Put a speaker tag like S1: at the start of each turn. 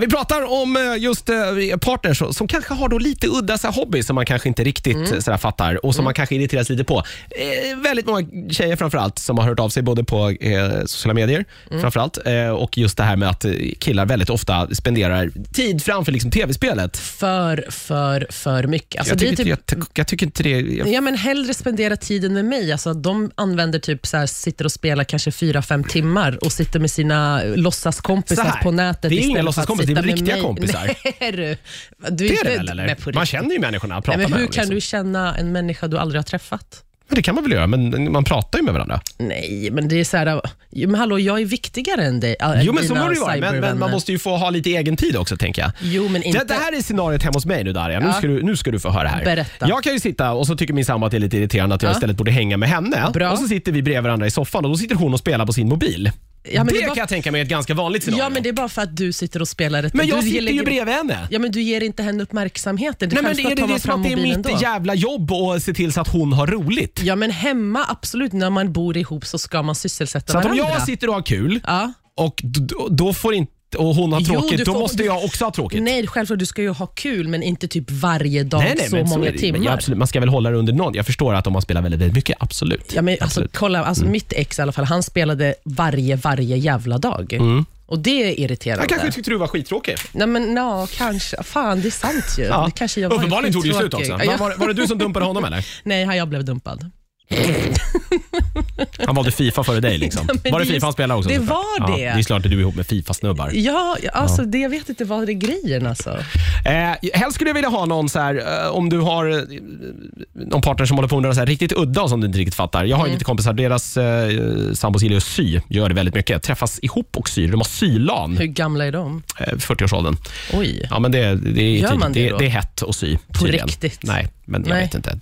S1: Vi pratar om eh, just eh, partners som- som kanske har då lite udda så här, hobby som man kanske inte riktigt
S2: Mm.
S1: så här, fattar och som man kanske irriteras lite på. Eh, väldigt många tjejer framförallt som har hört av sig både på eh, sociala medier
S2: Mm.
S1: framförallt eh, och just det här med att eh, killar väldigt ofta spenderar tid framför liksom, tv-spelet.
S2: För, för, för mycket. Alltså,
S1: jag,
S2: det är
S1: tycker,
S2: typ,
S1: inte- jag, jag tycker inte det. Jag,
S2: ja, men hellre spendera tiden med mig. Alltså, de använder typ så här, sitter och spelar kanske fyra fem timmar och sitter med sina
S1: Så
S2: låtsaskompisar
S1: här,
S2: på nätet.
S1: det är inga
S2: istället för att
S1: låtsaskompisar, det är
S2: sitta med
S1: riktiga
S2: mig.
S1: kompisar.
S2: Nej, du. du
S1: det är
S2: inte-
S1: det väl, eller?
S2: Men typ på
S1: Man
S2: riktigt.
S1: känner ju människorna och pratar
S2: Nej, men
S1: med
S2: hur
S1: dem.
S2: kan
S1: liksom.
S2: du känna en människa du aldrig har träffat?
S1: Men det kan man väl göra, men man pratar ju med varandra.
S2: Nej, men det är så här, jo, men hallå, jag är viktigare än dig. äh,
S1: Jo, men så
S2: dina
S1: må det ju vara. Men, men
S2: cybervänner.
S1: man måste ju få ha lite egen tid också, tänker jag.
S2: Jo, men inte...
S1: Det, det här är scenariot hemma hos mig nu Darja. Nu,
S2: Ja.
S1: ska du, nu ska du få höra här.
S2: Berätta.
S1: Jag kan ju sitta och så tycker min sambo att det är lite irriterande att jag
S2: Ja.
S1: istället borde hänga med henne.
S2: Bra.
S1: Och så sitter vi bredvid varandra i soffan och då sitter hon och spelar på sin mobil.
S2: Ja, men
S1: det
S2: det är
S1: kan
S2: bara-
S1: jag tänka mig är ett ganska vanligt scenario.
S2: Ja, men det är bara för att du sitter och spelar ett...
S1: Men jag
S2: du
S1: sitter
S2: lägger-
S1: ju bredvid henne.
S2: Ja, men du ger inte henne uppmärksamheten. Det
S1: Nej, men
S2: självklart
S1: är det,
S2: tar
S1: det
S2: man
S1: är som
S2: fram
S1: att det är
S2: mobilen
S1: mitt
S2: då.
S1: jävla jobb att se till så att hon har roligt.
S2: Ja, men hemma, absolut. När man bor ihop så ska man sysselsätta
S1: Så att om
S2: varandra.
S1: jag sitter och har kul
S2: Ja.
S1: och då, då får inte och hon har
S2: Jo,
S1: tråkigt,
S2: du
S1: då
S2: får-
S1: måste
S2: du-
S1: jag också ha tråkigt.
S2: Nej, självklart. Du ska ju ha kul, men inte typ varje dag så
S1: men
S2: många
S1: är det.
S2: timmar.
S1: Men ja, absolut, man ska väl hålla det under någon. Jag förstår att om man spelar väldigt, väldigt mycket, absolut.
S2: Ja, men alltså,
S1: absolut. Mm.
S2: kolla, alltså, mitt ex i alla fall, han spelade varje, varje jävla dag. Och det är irriterande.
S1: Han Mm. kanske tyckte du var skittråkig.
S2: Nej, men no, kanske. Fan, det är sant ju. Det kanske jag var
S1: Uppenbarligen tog det ju slut
S2: skittråkig.
S1: också.
S2: Ja,
S1: Men Var, det- var det du som dumpade honom eller?
S2: Nej, här jag blev dumpad.
S1: Han valde Fifa före dig liksom.
S2: Ja, men
S1: var det
S2: det är
S1: Fifa
S2: just-
S1: han spelade också?
S2: det
S1: ungefär?
S2: var
S1: Ja,
S2: det.
S1: det är klart att du är ihop med Fifa-snubbar.
S2: Ja, ja, alltså, Det, jag vet inte vad det är grejen. Alltså.
S1: Eh, helst skulle jag vilja ha någon så här, eh, om du har eh, någon partner som håller på med något så här riktigt udda och som du inte riktigt fattar. Jag har ju
S2: Mm.
S1: lite kompisar, deras eh, sambos gillar ju att sy, gör det väldigt mycket. Träffas ihop och syr. De har sylan,
S2: Hur gamla är de?
S1: eh, 40-årsåldern.
S2: Oj.
S1: Ja, men det, det, är
S2: Gör
S1: tydligt.
S2: man det
S1: det,
S2: då?
S1: det är hett att sy. tydligen.
S2: riktigt?
S1: Nej, men jag
S2: Nej.
S1: vet inte. Det är